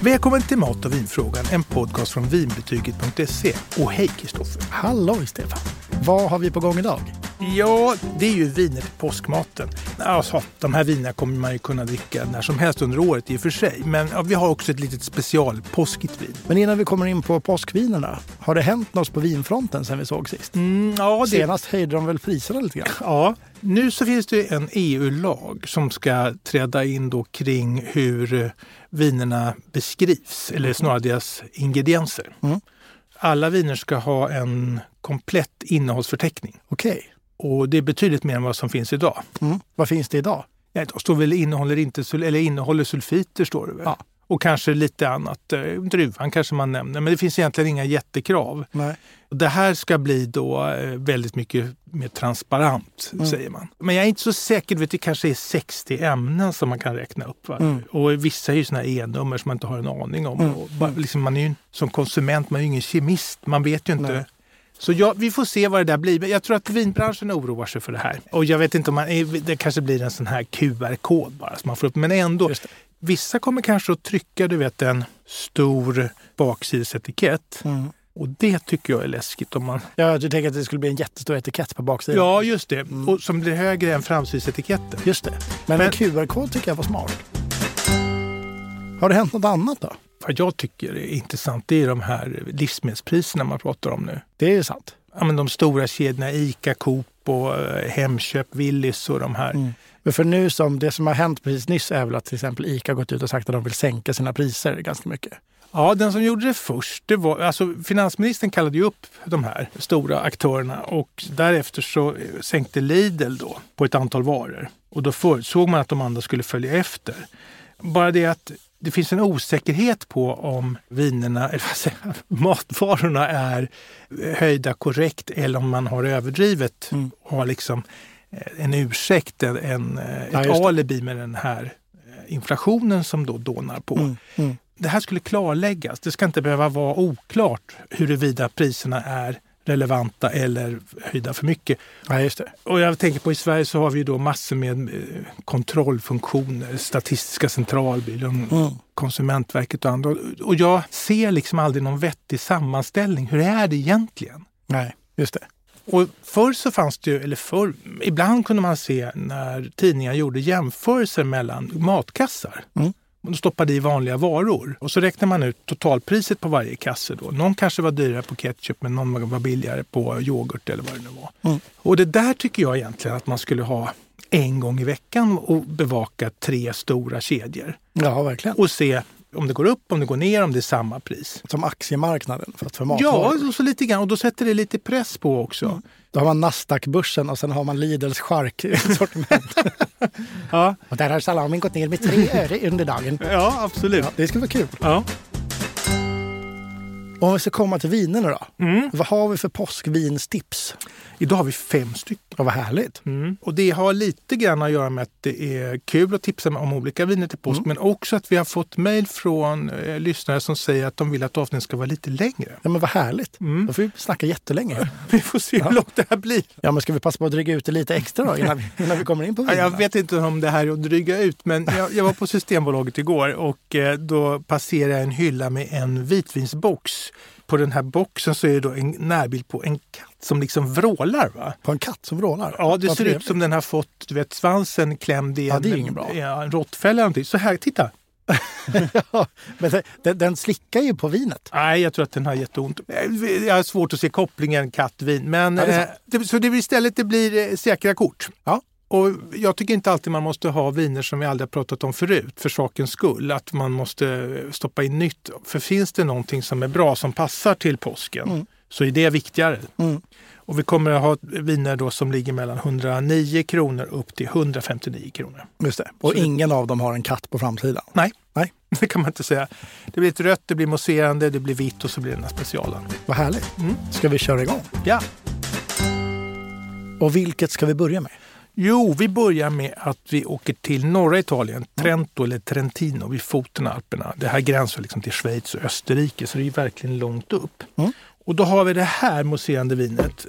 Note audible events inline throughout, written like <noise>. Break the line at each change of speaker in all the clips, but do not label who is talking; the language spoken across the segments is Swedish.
Välkommen till Mat och vinfrågan, en podcast från vinbetyget.se. Och hej Kristoffer!
Halloj Stefan! Vad har vi på gång idag?
Ja, det är ju viner till påskmaten. Alltså, de här vinerna kommer man ju kunna dricka när som helst under året i och för sig. Men ja, vi har också ett litet special påskigt vin.
Men innan vi kommer in på påskvinerna, har det hänt något på vinfronten sen vi såg sist?
Mm, ja, det,
Senast höjde de väl priserna lite grann?
ja, nu så finns det en EU-lag som ska träda in då kring hur eh, vinerna beskrivs, eller snarare deras ingredienser.
Mm.
Alla viner ska ha en komplett innehållsförteckning.
Okej.
Och det är betydligt mer än vad som finns idag.
Mm. Vad finns det idag?
Ja, det står väl innehåller, inte, sul- eller innehåller sulfiter, står det väl?
Ja.
Och kanske lite annat. eh, Druvan kanske man nämner, men det finns egentligen inga jättekrav.
Nej.
Och Det här ska bli då eh, väldigt mycket mer transparent,
Mm.
säger man. Men jag är inte så säker, du vet, det kanske är 60 ämnen som man kan räkna upp. Va?
Mm.
Och vissa är ju såna här E-nummer som man inte har en aning om. Och bara, liksom, man är ju en- som konsument, man är ju ingen kemist, man vet ju inte.
Nej.
Så ja, vi får se vad det där blir. Men jag tror att vinbranschen oroar sig för det här. Och jag vet inte om man, eh, det kanske blir en sån här QR-kod bara som man får upp. Men ändå,
Just det.
vissa kommer kanske att trycka, du vet, en stor baksidesetikett.
Mm.
Och det tycker jag är läskigt om man
Ja, du tänker att det skulle bli en jättestor etikett på baksidan?
Ja, just det. Och som blir högre än framsidsetiketten.
Just det. Men,
Men-
en QR-kod tycker jag var smart. Har det hänt något annat då?
Vad jag tycker är intressant det är de här livsmedelspriserna man pratar om nu.
Det är ju sant.
Ja, men de stora kedjorna Ica, Coop och eh, Hemköp, Willys och de här.
Men för nu som det som har hänt precis nyss är väl att till exempel ICA har gått ut och sagt att de vill sänka sina priser ganska mycket.
Ja, den som gjorde det först, det var, alltså finansministern kallade ju upp de här stora aktörerna och därefter så eh, sänkte Lidl då på ett antal varor. Och då förutsåg man att de andra skulle följa efter. Bara det att det finns en osäkerhet på om vinerna, eller vad säger jag, <laughs> matvarorna är höjda korrekt eller om man har överdrivet
Mm.
och har liksom eh, en ursäkt, en, en, eh,
Ja,
ett
just det.
alibi med den här eh, inflationen som då dånar på
Mm.
det här skulle klarläggas. Det ska inte behöva vara oklart huruvida priserna är relevanta eller höjda för mycket.
Ja, just det.
Och jag tänker på i Sverige så har vi ju då massor med eh, kontrollfunktioner, Statistiska centralbyrån,
Mm.
Konsumentverket och andra. Och jag ser liksom aldrig någon vettig sammanställning. Hur är det egentligen?
Nej, just det.
Och förr så fanns det ju, eller förr, ibland kunde man se när tidningar gjorde jämförelser mellan matkassar.
Mm.
De stoppade i vanliga varor och så räknar man ut totalpriset på varje kasse. Då. Någon kanske var dyrare på ketchup men någon var billigare på yoghurt eller vad det nu var.
Mm.
Och det där tycker jag egentligen att man skulle ha en gång i veckan och bevaka tre stora kedjor
Ja, verkligen.
och se om det går upp, om det går ner, om det är samma pris.
Som aktiemarknaden fast för
Ja,
matvaror. Mm.
och så lite grann. Och då sätter det lite press på också.
Då har man Nasdaq-börsen och sen har man Lidls charksortiment.
Ja,
<laughs> och där har salamin gått ner med tre öre under dagen.
ja, absolut.
Det skulle vara kul.
Ja.
Om vi ska komma till vinerna då. Vad har vi för påskvinstips?
Mm. Idag har vi fem stycken.
Ja, vad härligt.
Och det har lite grann att göra med att det är kul att tipsa om olika viner till påsk. Men också att vi har fått mejl från eh, lyssnare som säger att de vill att avsnittet ska vara lite längre.
Ja, men vad härligt. Då får vi snacka jättelänge.
<laughs> Vi får se hur långt det här blir.
Ja, men ska vi passa på att dryga ut det lite extra då innan vi, innan vi kommer in på
Ja,
vinerna?
Jag vet inte om det här är att dryga ut, men jag, jag var på Systembolaget igår och eh, då passerade jag en hylla med en vitvinsbox. På den här boxen så är det då en närbild på en katt som liksom vrålar. Va?
På en katt som vrålar?
Ja, det
Vad
ser ut
trevligt.
som den har fått du vet, svansen klämd i
Ja,
en,
det är ju inget bra.
ja, en råttfälla. eller någonting. Så här, titta!
<laughs> Ja, men den- den, den slickar ju på vinet.
Nej, jag tror att den har jätteont. Eh, Jag har svårt att se kopplingen katt-vin. Men,
Ja, det är
eh, det så det blir istället det blir eh, säkra kort.
Ja.
Och jag tycker inte alltid man måste ha viner som vi aldrig har pratat om förut för sakens skull. Att man måste eh, stoppa in nytt. För finns det någonting som är bra som passar till påsken så är det viktigare.
Mm.
Och vi kommer att ha viner då som ligger mellan 109 kronor upp till 159 kronor.
Just det. Och
Så det-
ingen av dem har en katt på framsidan.
Nej, <laughs>
Nej,
det kan man inte säga. Det blir ett rött, det blir mousserande, det blir vitt och så blir det den här specialen.
vad härligt. Ska vi köra igång?
Ja.
Och vilket ska vi börja med?
Jo, vi börjar med att vi åker till norra Italien, Trento eller Trentino vid foten av Alperna. Det här gränsar liksom till Schweiz och Österrike så det är ju verkligen långt upp.
Mm.
Och då har vi det här mousserande vinet.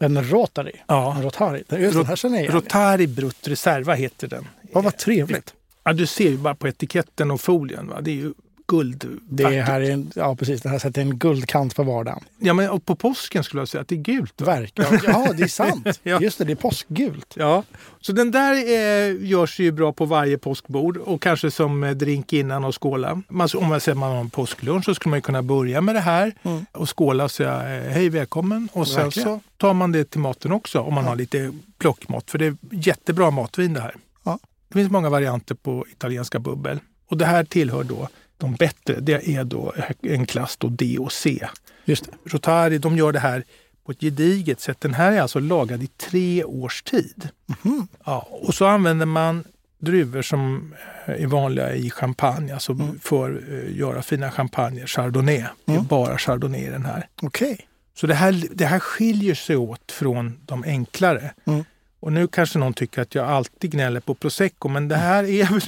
En Rotary.
Ja.
En Rotari. Just den här känner jag igen.
Rotari Brut Reserva heter den.
Ja, vad trevligt.
Ja, du ser ju bara på etiketten och folien. Va? Det är ju guld.
Det här är en, ja, precis, den här sätter en guldkant på vardagen.
Ja, men och på påsken skulle jag säga att det är gult. va?
Verkligen. Ja, det är sant.
<laughs> Ja.
Just det, det är påskgult.
Ja, så den där eh, görs ju bra på varje påskbord och kanske som eh, drink innan och skåla. Man, om man säger man har en påsklunch så skulle man ju kunna börja med det här
Mm.
och skåla och säga eh, hej välkommen. Och sen
Verkligen.
så tar man det till maten också om man
Ja.
har lite plockmat för det är jättebra matvin det här.
Ja.
Det finns många varianter på italienska bubbel och det här tillhör då de bättre. Det är då eh, en klass då D och C.
Just det.
Rotari, de gör det här på ett gediget sätt. Den här är alltså lagad i tre års tid.
Mhm.
Ja, och så använder man druvor som eh, är vanliga i champagne, alltså för att eh, göra fina champagner, chardonnay. Det är
Mm.
bara chardonnay i den här.
Okej.
Så det här, det här skiljer sig åt från de enklare.
Mm.
Och nu kanske någon tycker att jag alltid gnäller på prosecco, men
Mm.
det här är,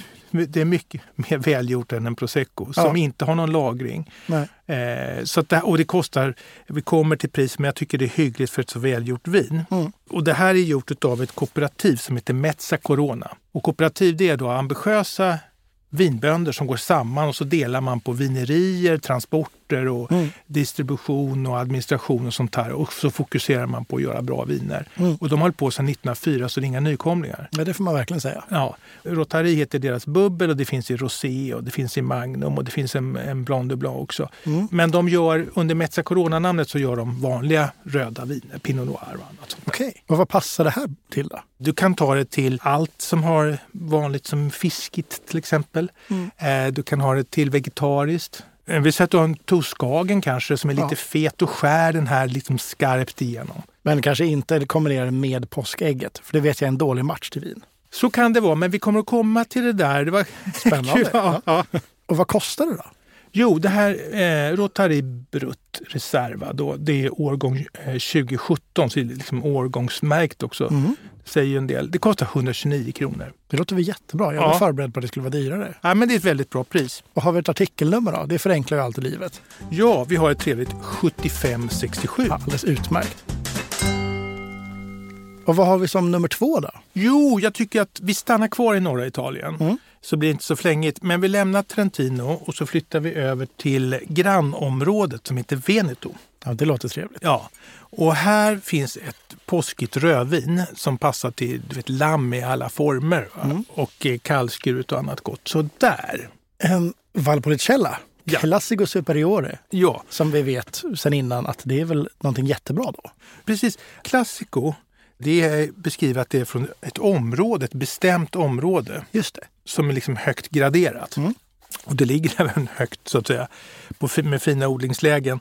det är mycket mer välgjort än en prosecco som inte har någon lagring.
Nej.
Eh, så att det, och det kostar, vi kommer till pris, men jag tycker det är hyggligt för ett så välgjort vin.
Mm.
Och det här är gjort av ett kooperativ som heter Mezza Corona. Och kooperativ det är då ambitiösa vinbönder som går samman och så delar man på vinerier, transporter och
Mm.
distribution och administration och sånt här. Och så fokuserar man på att göra bra viner.
Mm.
Och de har hållit på sedan 1904 så det är inga nykomlingar.
Ja, det får man verkligen säga.
Ja, Rotari heter deras bubbel och det finns i Rosé och det finns i Magnum och det finns en, en Blanc de Blanc också.
Mm.
Men de gör, under Mezza Corona-namnet så gör de vanliga röda viner, Pinot Noir och annat. sånt.
Okej. Och vad passar det här till då?
Du kan ta det till allt som har vanligt som fiskigt till exempel.
Mm.
Eh, Du kan ha det till vegetariskt. Eh, Vi säger att du har en toskagen kanske som är lite
Ja.
fet och skär den här liksom skarpt igenom.
Men kanske inte kombinera det med påskägget, för det vet jag är en dålig match till vin.
Så kan det vara, men vi kommer att komma till det där. Det
<laughs>
var
Spännande.
Ja, ja.
Och vad kostar det då?
Jo, det här eh, Rotary Brut Reserva, då, det är årgång eh, 2017, så det är liksom årgångsmärkt också.
Mm.
säger ju en del. Det kostar 129 kronor.
Det låter väl jättebra. Jag var
Ja.
förberedd på att det skulle vara dyrare.
Ja, men det är ett väldigt bra pris.
Och har vi ett artikelnummer då? Det förenklar ju alltid livet.
Ja, vi har ett trevligt 7567.
Alldeles utmärkt. Och vad har vi som nummer två då?
Jo, jag tycker att vi stannar kvar i norra Italien.
Mm.
Så blir det inte så flängigt. Men vi lämnar Trentino och så flyttar vi över till grannområdet som heter Veneto.
Ja, det låter trevligt.
Ja, och här finns ett påskigt rödvin som passar till du vet, lamm i alla former. va?
Mm.
Och eh, kallskuret och annat gott. Så där.
En Valpolicella,
Ja.
Classico Superiore,
Ja,
som vi vet sen innan att det är väl någonting jättebra då.
Precis. Classico, det beskriver att det är från ett område, ett bestämt område
Just det.
som är liksom högt graderat.
Mm.
Och det ligger <laughs> även högt så att säga, på, fi- med fina odlingslägen.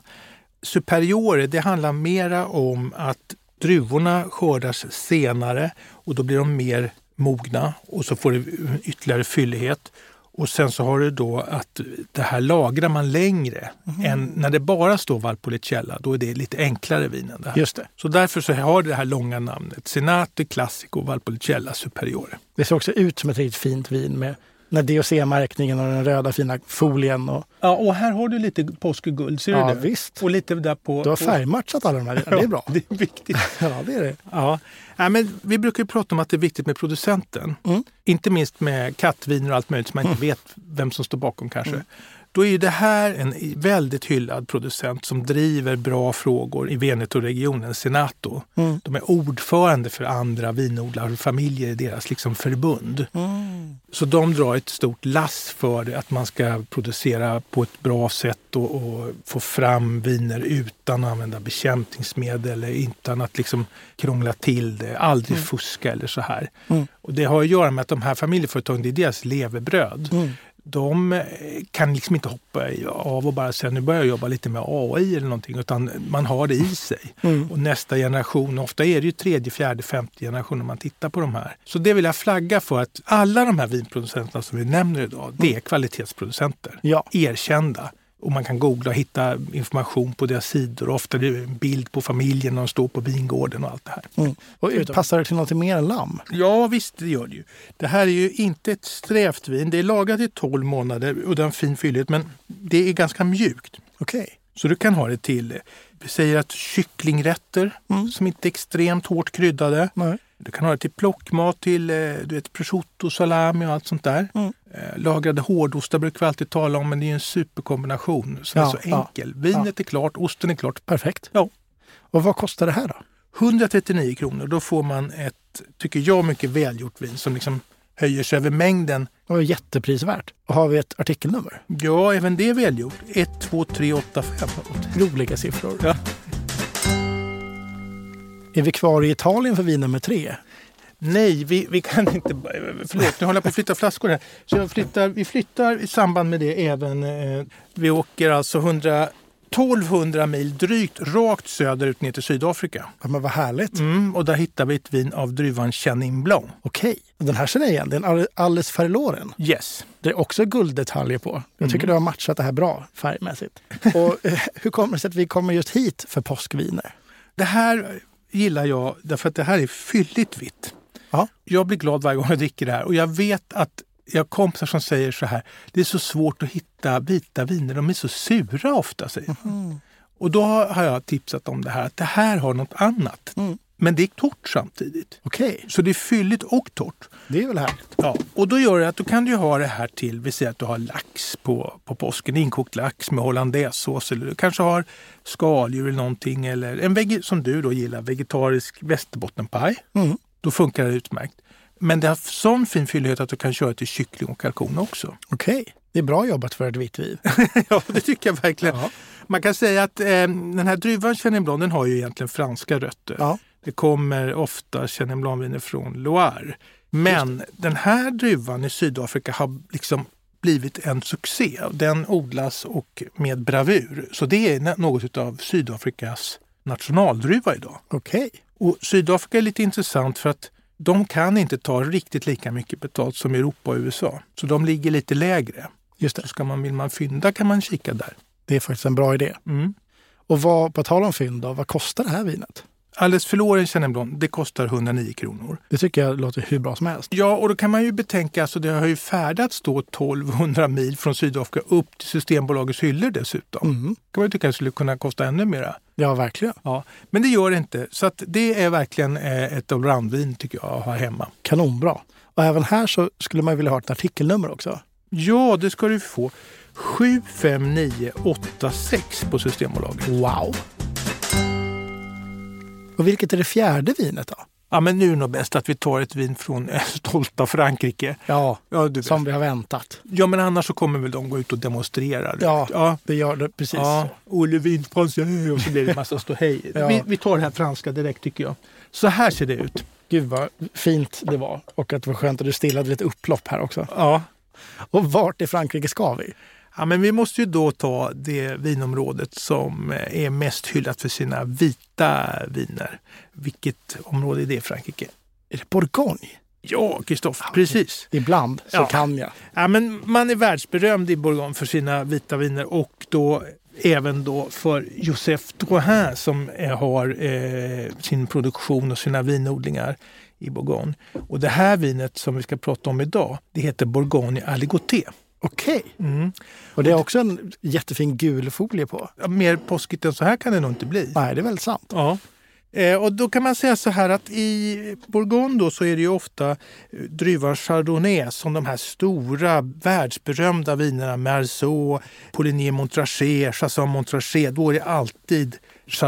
Superiore, det handlar mera om att druvorna skördas senare och då blir de mer mogna och så får det ytterligare fyllighet. Och sen så har du då att det här lagrar man längre
Mm.
än när det bara står Valpolicella. Då är det lite enklare vin än det här.
Just det.
Så därför så har det här långa namnet Senate Classico Valpolicella Superiore.
Det ser också ut som ett riktigt fint vin med när DOC-märkningen och den röda fina folien. Och,
Ja, och här har du lite påskguld, ser
ja,
du det?
visst.
Och lite där på...
Du har
på-
färgmatchat alla de här. Det är bra.
Ja, <laughs> Det är viktigt.
Ja, det är det.
<laughs> Ja. Nej, men vi brukar ju prata om att det är viktigt med producenten.
Mm.
Inte minst med kattviner och allt möjligt som man inte vet vem som står bakom kanske.
Mm.
Då är ju det här en väldigt hyllad producent som driver bra frågor i Veneto-regionen, Senato.
Mm.
De är ordförande för andra vinodlarfamiljer i deras liksom förbund.
Mm.
Så de drar ett stort lass för det, att man ska producera på ett bra sätt och, och få fram viner utan att använda bekämpningsmedel, eller utan att liksom krångla till det, aldrig fuska eller så här.
Mm.
Och det har att göra med att de här familjeföretagen, det är deras levebröd.
Mm.
De eh, kan liksom inte hoppa i- av och bara säga nu börjar jag jobba lite med AI eller någonting, utan man har det i sig.
Mm.
Och nästa generation, ofta är det ju tredje, fjärde, femte generation om man tittar på de här. Så det vill jag flagga för att alla de här vinproducenterna som vi nämner idag, det är kvalitetsproducenter.
Ja,
Erkända. Och man kan googla och hitta information på deras sidor. Ofta är det en bild på familjen när de står på vingården och allt det här.
mm. och passar det till något mer än lamm?
Ja, visst det gör det ju. Det här är ju inte ett strävt vin. Det är lagat i 12 månader och det har en fin fyllighet, men det är ganska mjukt.
Okej.
Så du kan ha det till, eh, vi säger att kycklingrätter
Mm.
som inte är extremt hårt kryddade.
Nej.
Du kan ha det till plockmat, till eh, du vet, prosciutto, salami och allt sånt där.
Mm.
Lagrade hårdostar brukar vi alltid tala om, men det är ju en superkombination som
Ja,
är så
ja,
enkel. Vinet är klart, osten är klart.
Perfekt.
Ja.
Och vad kostar det här då?
139 kronor, då får man ett, tycker jag, mycket välgjort vin som liksom höjer sig över mängden.
Det var jätteprisvärt. Och har vi ett artikelnummer?
Ja, även det är välgjort. 1, 2, 3, 8, 5.
Roliga siffror.
Ja.
Är vi kvar i Italien för vin nummer tre?
Nej, vi, vi kan inte... bara- Förlåt, nu håller jag på att flytta flaskor här. Så jag flyttar, vi flyttar i samband med det även... Eh, vi åker alltså 100, 1200 mil drygt rakt söderut ner till Sydafrika.
Ja, men vad härligt.
Mm, och där hittar vi ett vin av druvan Chenin Blanc.
Okej, den här känner jag igen. Det är en Al- Alice Ferloren.
Yes.
Det är också gulddetaljer på. Jag
Mm.
tycker du har matchat det här bra färgmässigt. Och eh, <laughs> hur kommer det sig att vi kommer just hit för påskviner?
Det här gillar jag därför att det här är fylligt vitt.
Ja.
Jag blir glad varje gång jag dricker det här och jag vet att jag har kompisar som säger så här. Det är så svårt att hitta vita viner, de är så sura ofta säger de. Och då har har jag tipsat om det här, att det här har något annat. Men det är torrt samtidigt.
Okej,
Så det är fylligt och torrt.
det är väl härligt.
Ja, och då gör det att du kan du ha det här till, vi säger att du har lax på, på påsken, inkokt lax med hollandaisesås eller du kanske har skaldjur eller någonting eller en vege, som du då gillar, vegetarisk västerbottenpaj.
Mm.
Då funkar det utmärkt. Men det har sån fin fyllighet att du kan köra till kyckling och kalkon också.
Okej, det är bra jobbat för ett vitt vin.
<laughs> ja, det tycker jag verkligen.
Ja.
Man kan säga att eh, den här druvan Chenin Blanc den har ju egentligen franska rötter.
Ja.
Det kommer ofta Chenin Blanc-viner från Loire. Men den här druvan i Sydafrika har liksom blivit en succé. Den odlas och med bravur. Så det är nä- något av Sydafrikas nationaldruva idag.
Okej,
Och Sydafrika är lite intressant för att de kan inte ta riktigt lika mycket betalt som Europa och USA. Så de ligger lite lägre.
just
Så
det.
ska man, vill man fynda kan man kika där.
Det är faktiskt en bra idé.
Mm.
Och vad, på tal om fynd då, vad kostar det här vinet?
Alldeles för låren Chenin Blanc, det kostar 109 kronor.
Det tycker jag låter hur bra som helst.
Ja, och då kan man ju betänka, alltså det har ju färdats då 1200 mil från Sydafrika upp till Systembolagets hyllor dessutom.
Mm.
kan man ju tycka att det skulle kunna kosta ännu mera.
Ja, verkligen.
Ja, men det gör det inte. Så att det är verkligen eh, ett allroundvin tycker jag att ha hemma.
Kanonbra. Och även här så skulle man ju vilja ha ett artikelnummer också.
Ja, det ska du få. 75986 på Systembolaget.
Wow! Och vilket är det fjärde vinet då?
Ja, men nu är det nog bäst att vi tar ett vin från <laughs> eh, stolta Frankrike.
Ja,
Ja, du vet.
som vi har väntat.
ja, men annars så kommer väl de gå ut och demonstrera. du
Ja.
vet. ja
Det gör det precis
Ja,
så.
Olle Winfrancé och så blir det en massa <laughs> ståhej.
Ja.
vi, vi tar det här franska direkt tycker jag. Så här ser det ut.
Gud vad fint det var och att det var skönt att du stillade lite upplopp här också.
Ja.
Och vart i Frankrike ska vi?
ja, men vi måste ju då ta det vinområdet som eh, är mest hyllat för sina vita viner. Vilket område är det i Frankrike?
Är det Bourgogne?
Ja, Kristoffer, precis.
Ibland så
Ja.
kan jag.
Ja, men man är världsberömd i Bourgogne för sina vita viner och då även då för Joseph Drouin som eh, har eh, sin produktion och sina vinodlingar i Bourgogne. Och det här vinet som vi ska prata om idag, det heter Bourgogne Aligoté.
Okej.
Mm.
Och det är också en jättefin gul folie på.
Ja, Mer påskigt än så här kan det nog inte bli.
Nej, det är väl sant.
Ja. Eh, och då kan man säga så här att i Bourgogne då så är det ju ofta eh, druvan Chardonnay som de här stora världsberömda vinerna Merceau, Poligny Montrachet, Chasson Montrachet. Då är det alltid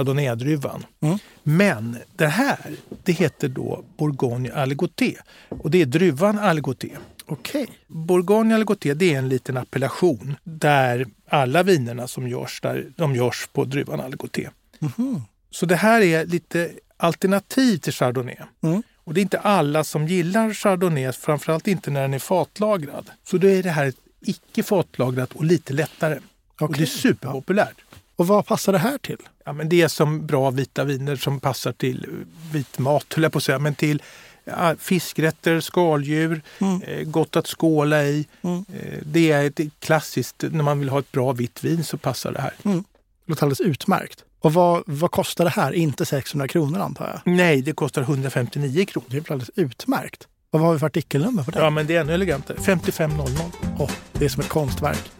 Chardonnay-druvan.
Mm.
Men det här, det heter då Bourgogne Aligoté och det är druvan Aligoté.
Okej.
Bourgogne Aligoté det är en liten appellation där alla vinerna som görs där, de görs på druvan Aligoté.
Mhm.
Så det här är lite alternativ till Chardonnay.
Mm.
Och det är inte alla som gillar Chardonnay, framförallt inte när den är fatlagrad. Så då är det här ett icke fatlagrat och lite lättare. Och det
Okej.
är superpopulärt.
Och vad passar det här till?
Ja, men det är som bra vita viner som passar till eh, vit mat, höll jag på att säga, men till ja, fiskrätter, skaldjur,
Mm.
eh, gott att skåla i.
Mm.
Eh, Det är ett klassiskt, när man vill ha ett bra vitt vin så passar det här.
Det låter alldeles utmärkt. Och vad, vad kostar det här? Inte 600 kronor antar jag.
Nej, det kostar 159 kronor.
Det är väl alldeles utmärkt. Och vad har vi för artikelnummer för det?
Ja, men det är ännu elegantare. 5500.
Åh, det är som ett konstverk.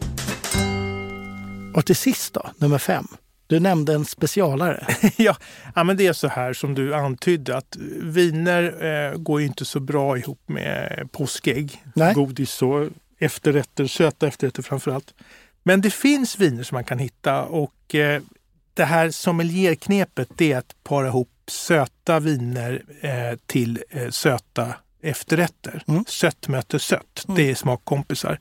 Och till sist då, nummer fem. Du nämnde
<laughs>
en specialare.
Ja, ja, men det är så här som du antydde att viner eh, går ju inte så bra ihop med påskägg,
Nej.
godis och efterrätter, söta efterrätter framför allt. Men det finns viner som man kan hitta och eh, det här sommelierknepet det är att para ihop söta viner eh, till eh, söta efterrätter.
Mm.
Sött möter sött,
Mm.
det är smakkompisar.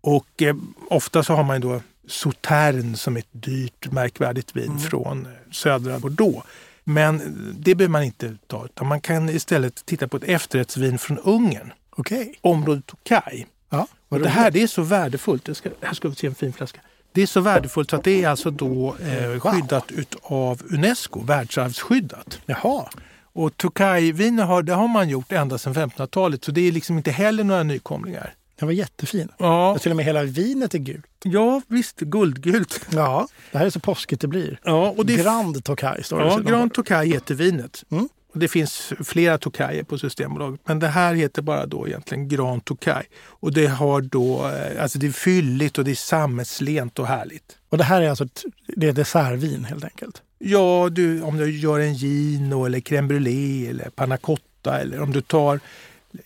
Och eh, ofta så har man ju då Sautern som är ett dyrt märkvärdigt vin
Mm.
från eh, södra Bordeaux. Men eh, det behöver man inte ta utan man kan istället titta på ett efterrättsvin från Ungern,
Okej.
området Tokaj.
Ja,
Och
vad
det
roligt.
här det är så värdefullt. Jag ska, här ska vi se en fin flaska. Det är så värdefullt så att det är alltså då eh, skyddat utav Unesco, världsarvsskyddat.
Jaha.
Och Tokaj-viner har, det har man gjort ända sedan 1500-talet så det är liksom inte heller några nykomlingar.
Den var jättefin.
Ja,
Och till och med hela vinet är gult.
ja visst, guldgult.
Ja. Det här är så påskigt det blir.
Ja, och det är
Grand Tokaj står det.
Ja,
sedan bara.
Grand Tokaj heter vinet.
Mm.
Och det finns flera Tokajer på Systembolaget, men det här heter bara då egentligen Grand Tokaj. Och det har då, eh, alltså det är fylligt och det är sammetslent och härligt.
Och det här är alltså ett, det är dessertvin helt enkelt.
Ja, du, om du gör en gino eller crème brûlée eller panna cotta eller om du tar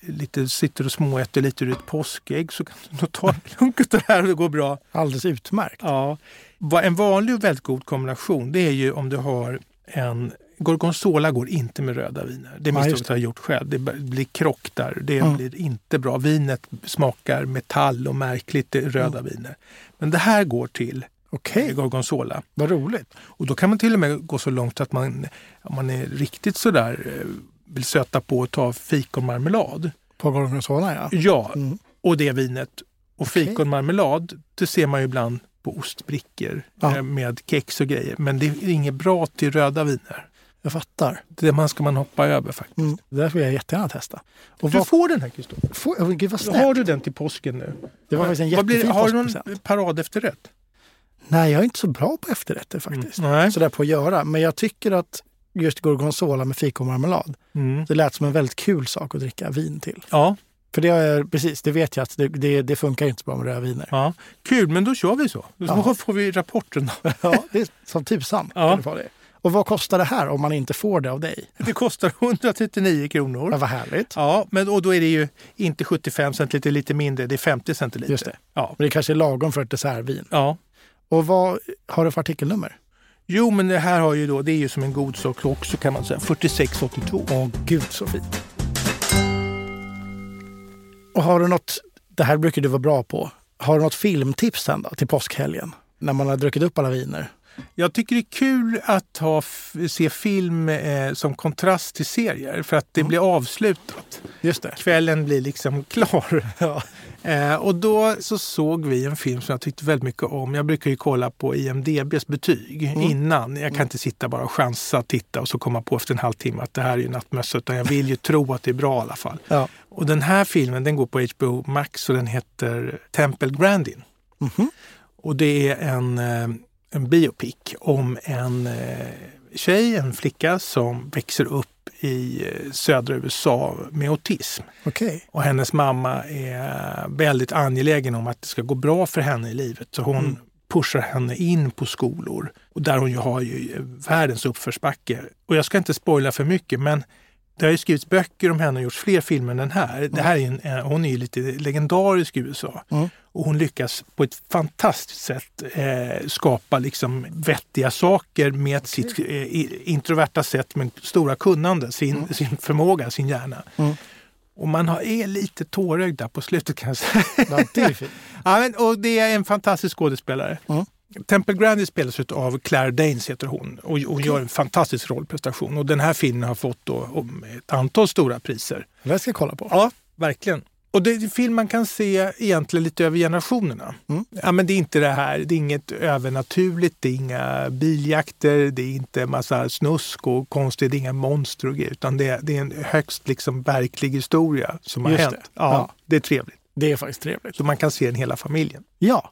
lite, sitter och småäter lite ur ett påskägg så kan du nog ta en klunk av det <laughs> här och det går bra.
Alldeles utmärkt.
Ja. Va- En vanlig och väldigt god kombination det är ju om du har en Gorgonzola går inte med röda viner. Det är
Ja, just
misstaget jag har gjort själv. Det b- blir krock där. Det
Mm.
blir inte bra. Vinet smakar metall och märkligt, det är röda
Mm.
viner. Men det här går till
Okej,
Gorgonzola.
vad roligt.
Och då kan man till och med gå så långt att man, om man är riktigt sådär eh, vill söta på och ta fikonmarmelad.
På Gorgonzola ja.
Ja,
Mm.
och det vinet. Och
Okej.
fikonmarmelad, det ser man ju ibland på ostbrickor
Ja.
eh, med kex och grejer. Men det är inget bra till röda viner.
Jag fattar.
Det man ska man hoppa över faktiskt.
Mm. Det där vill jag jättegärna testa. Och
Du
vad,
får den här Kristoffer.
får, oh, gud vad snällt.
Har du den till påsken nu?
Det var faktiskt en
Vad blir det?
jättefin
Har du
påskpresent.
någon parad efterrätt? Mm.
Nej, jag är inte så bra på efterrätter faktiskt.
Nej.
Sådär på att göra. Men jag tycker att just gorgonzola med fikonmarmelad,
Mm.
det lät som en väldigt kul sak att dricka vin till.
Ja,
För det, är, precis, det vet jag att det, det, det funkar inte så bra med rödviner.
<laughs> ja, kul. Men då kör vi så. Då
Ja.
får vi rapporten.
Ja, det är som tusan.
Ja.
kan det vara det. Och vad kostar det här om man inte får det av dig?
<laughs> Det kostar <laughs> 139
Ja,
kronor.
vad härligt.
Ja, men, och då är det ju inte 75 centiliter, lite mindre. Det är 50 centiliter.
Just det.
Ja.
Men det kanske är lagom för ett dessertvin.
ja.
Och vad har du för artikelnummer?
Jo, men det här har ju då, det är ju som en god sak också kan man säga, 4682.
Åh gud så fint. Och har du något, det här brukar du vara bra på, har du något filmtips sen då till påskhelgen? När man har druckit upp alla viner?
Jag tycker det är kul att ha, f- se film eh, som kontrast till serier för att
Mm.
det blir avslutat.
Just det.
Kvällen blir liksom klar. Eh, och då så såg vi en film som jag tyckte väldigt mycket om. Jag brukar ju kolla på IMDBs betyg innan. Jag kan inte sitta bara och chansa, titta och så komma på efter en halvtimme att det här är ju nattmössa. Utan jag vill ju tro att det är bra i alla fall.
Ja.
Och den här filmen den går på HBO Max och den heter Temple Grandin.
Mhm.
Och det är en, eh, en biopic om en eh, tjej, en flicka som växer upp i eh, södra USA med autism.
Okej.
Och hennes mamma är väldigt angelägen om att det ska gå bra för henne i livet. Så hon
Mm.
pushar henne in på skolor och där hon ju har ju världens uppförsbacke. Och jag ska inte spoila för mycket men det har ju skrivits böcker om henne och gjorts fler filmer än den här. Det här är en, eh, hon är ju lite legendarisk i USA.
Mm.
Och hon lyckas på ett fantastiskt sätt eh, skapa liksom vettiga saker med sitt eh, i- introverta sätt men stora kunnande, sin, sin förmåga, sin hjärna.
Mm.
Och man har, är lite tårögd där på slutet kan jag säga.
<laughs>
<laughs>
Ja, det är fint.
ja, men, och det är en fantastisk skådespelare.
Mm.
Temple Grandin spelas av Claire Danes heter hon och hon gör en fantastisk rollprestation. Och den här filmen har fått då, om ett antal stora priser.
Det här ska jag kolla på.
Ja, verkligen. Och det är en film man kan se egentligen lite över generationerna.
Mm.
Ja, men det är inte det här, det är inget övernaturligt, det är inga biljakter, det är inte massa snusk och konstigt, det är inga monster och grejer, utan det är, det är en högst liksom verklig historia som har
Just
hänt.
det.
Ja,
Ja.
Det är trevligt.
Det är faktiskt trevligt.
Så man kan se den hela familjen.
Ja.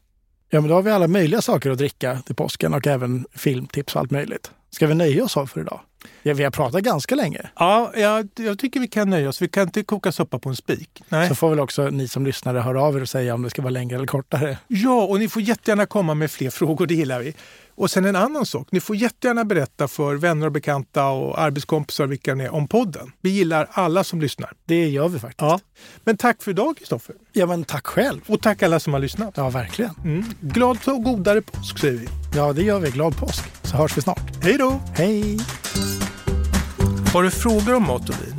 ja, men då har vi alla möjliga saker att dricka till påsken och även filmtips och allt möjligt. Ska vi nöja oss av för idag? Ja, vi har pratat ganska länge.
Ja, jag, jag tycker vi kan nöja oss. Vi kan inte koka soppa på en spik. Nej.
Så får väl också ni som lyssnare höra av er och säga om det ska vara längre eller kortare.
Ja, och ni får jättegärna komma med fler <laughs> frågor, det gillar vi. Och sen en annan sak, ni får jättegärna berätta för vänner och bekanta och arbetskompisar vilka ni är om podden. Vi gillar alla som lyssnar.
Det gör vi faktiskt.
Ja. Men tack för idag Kristoffer.
Ja, men tack själv.
Och tack alla som har lyssnat.
Ja, verkligen.
Mm. Glad och godare påsk säger vi.
Ja, det gör vi. Glad påsk. Så hörs vi snart.
Hej då!
Hej!
Har du frågor om mat och vin?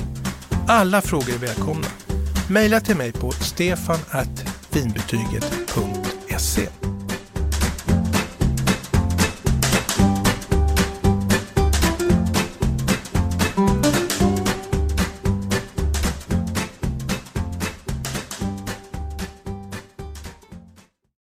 Alla frågor är välkomna. Mejla till mig på stefanvinbetyget.se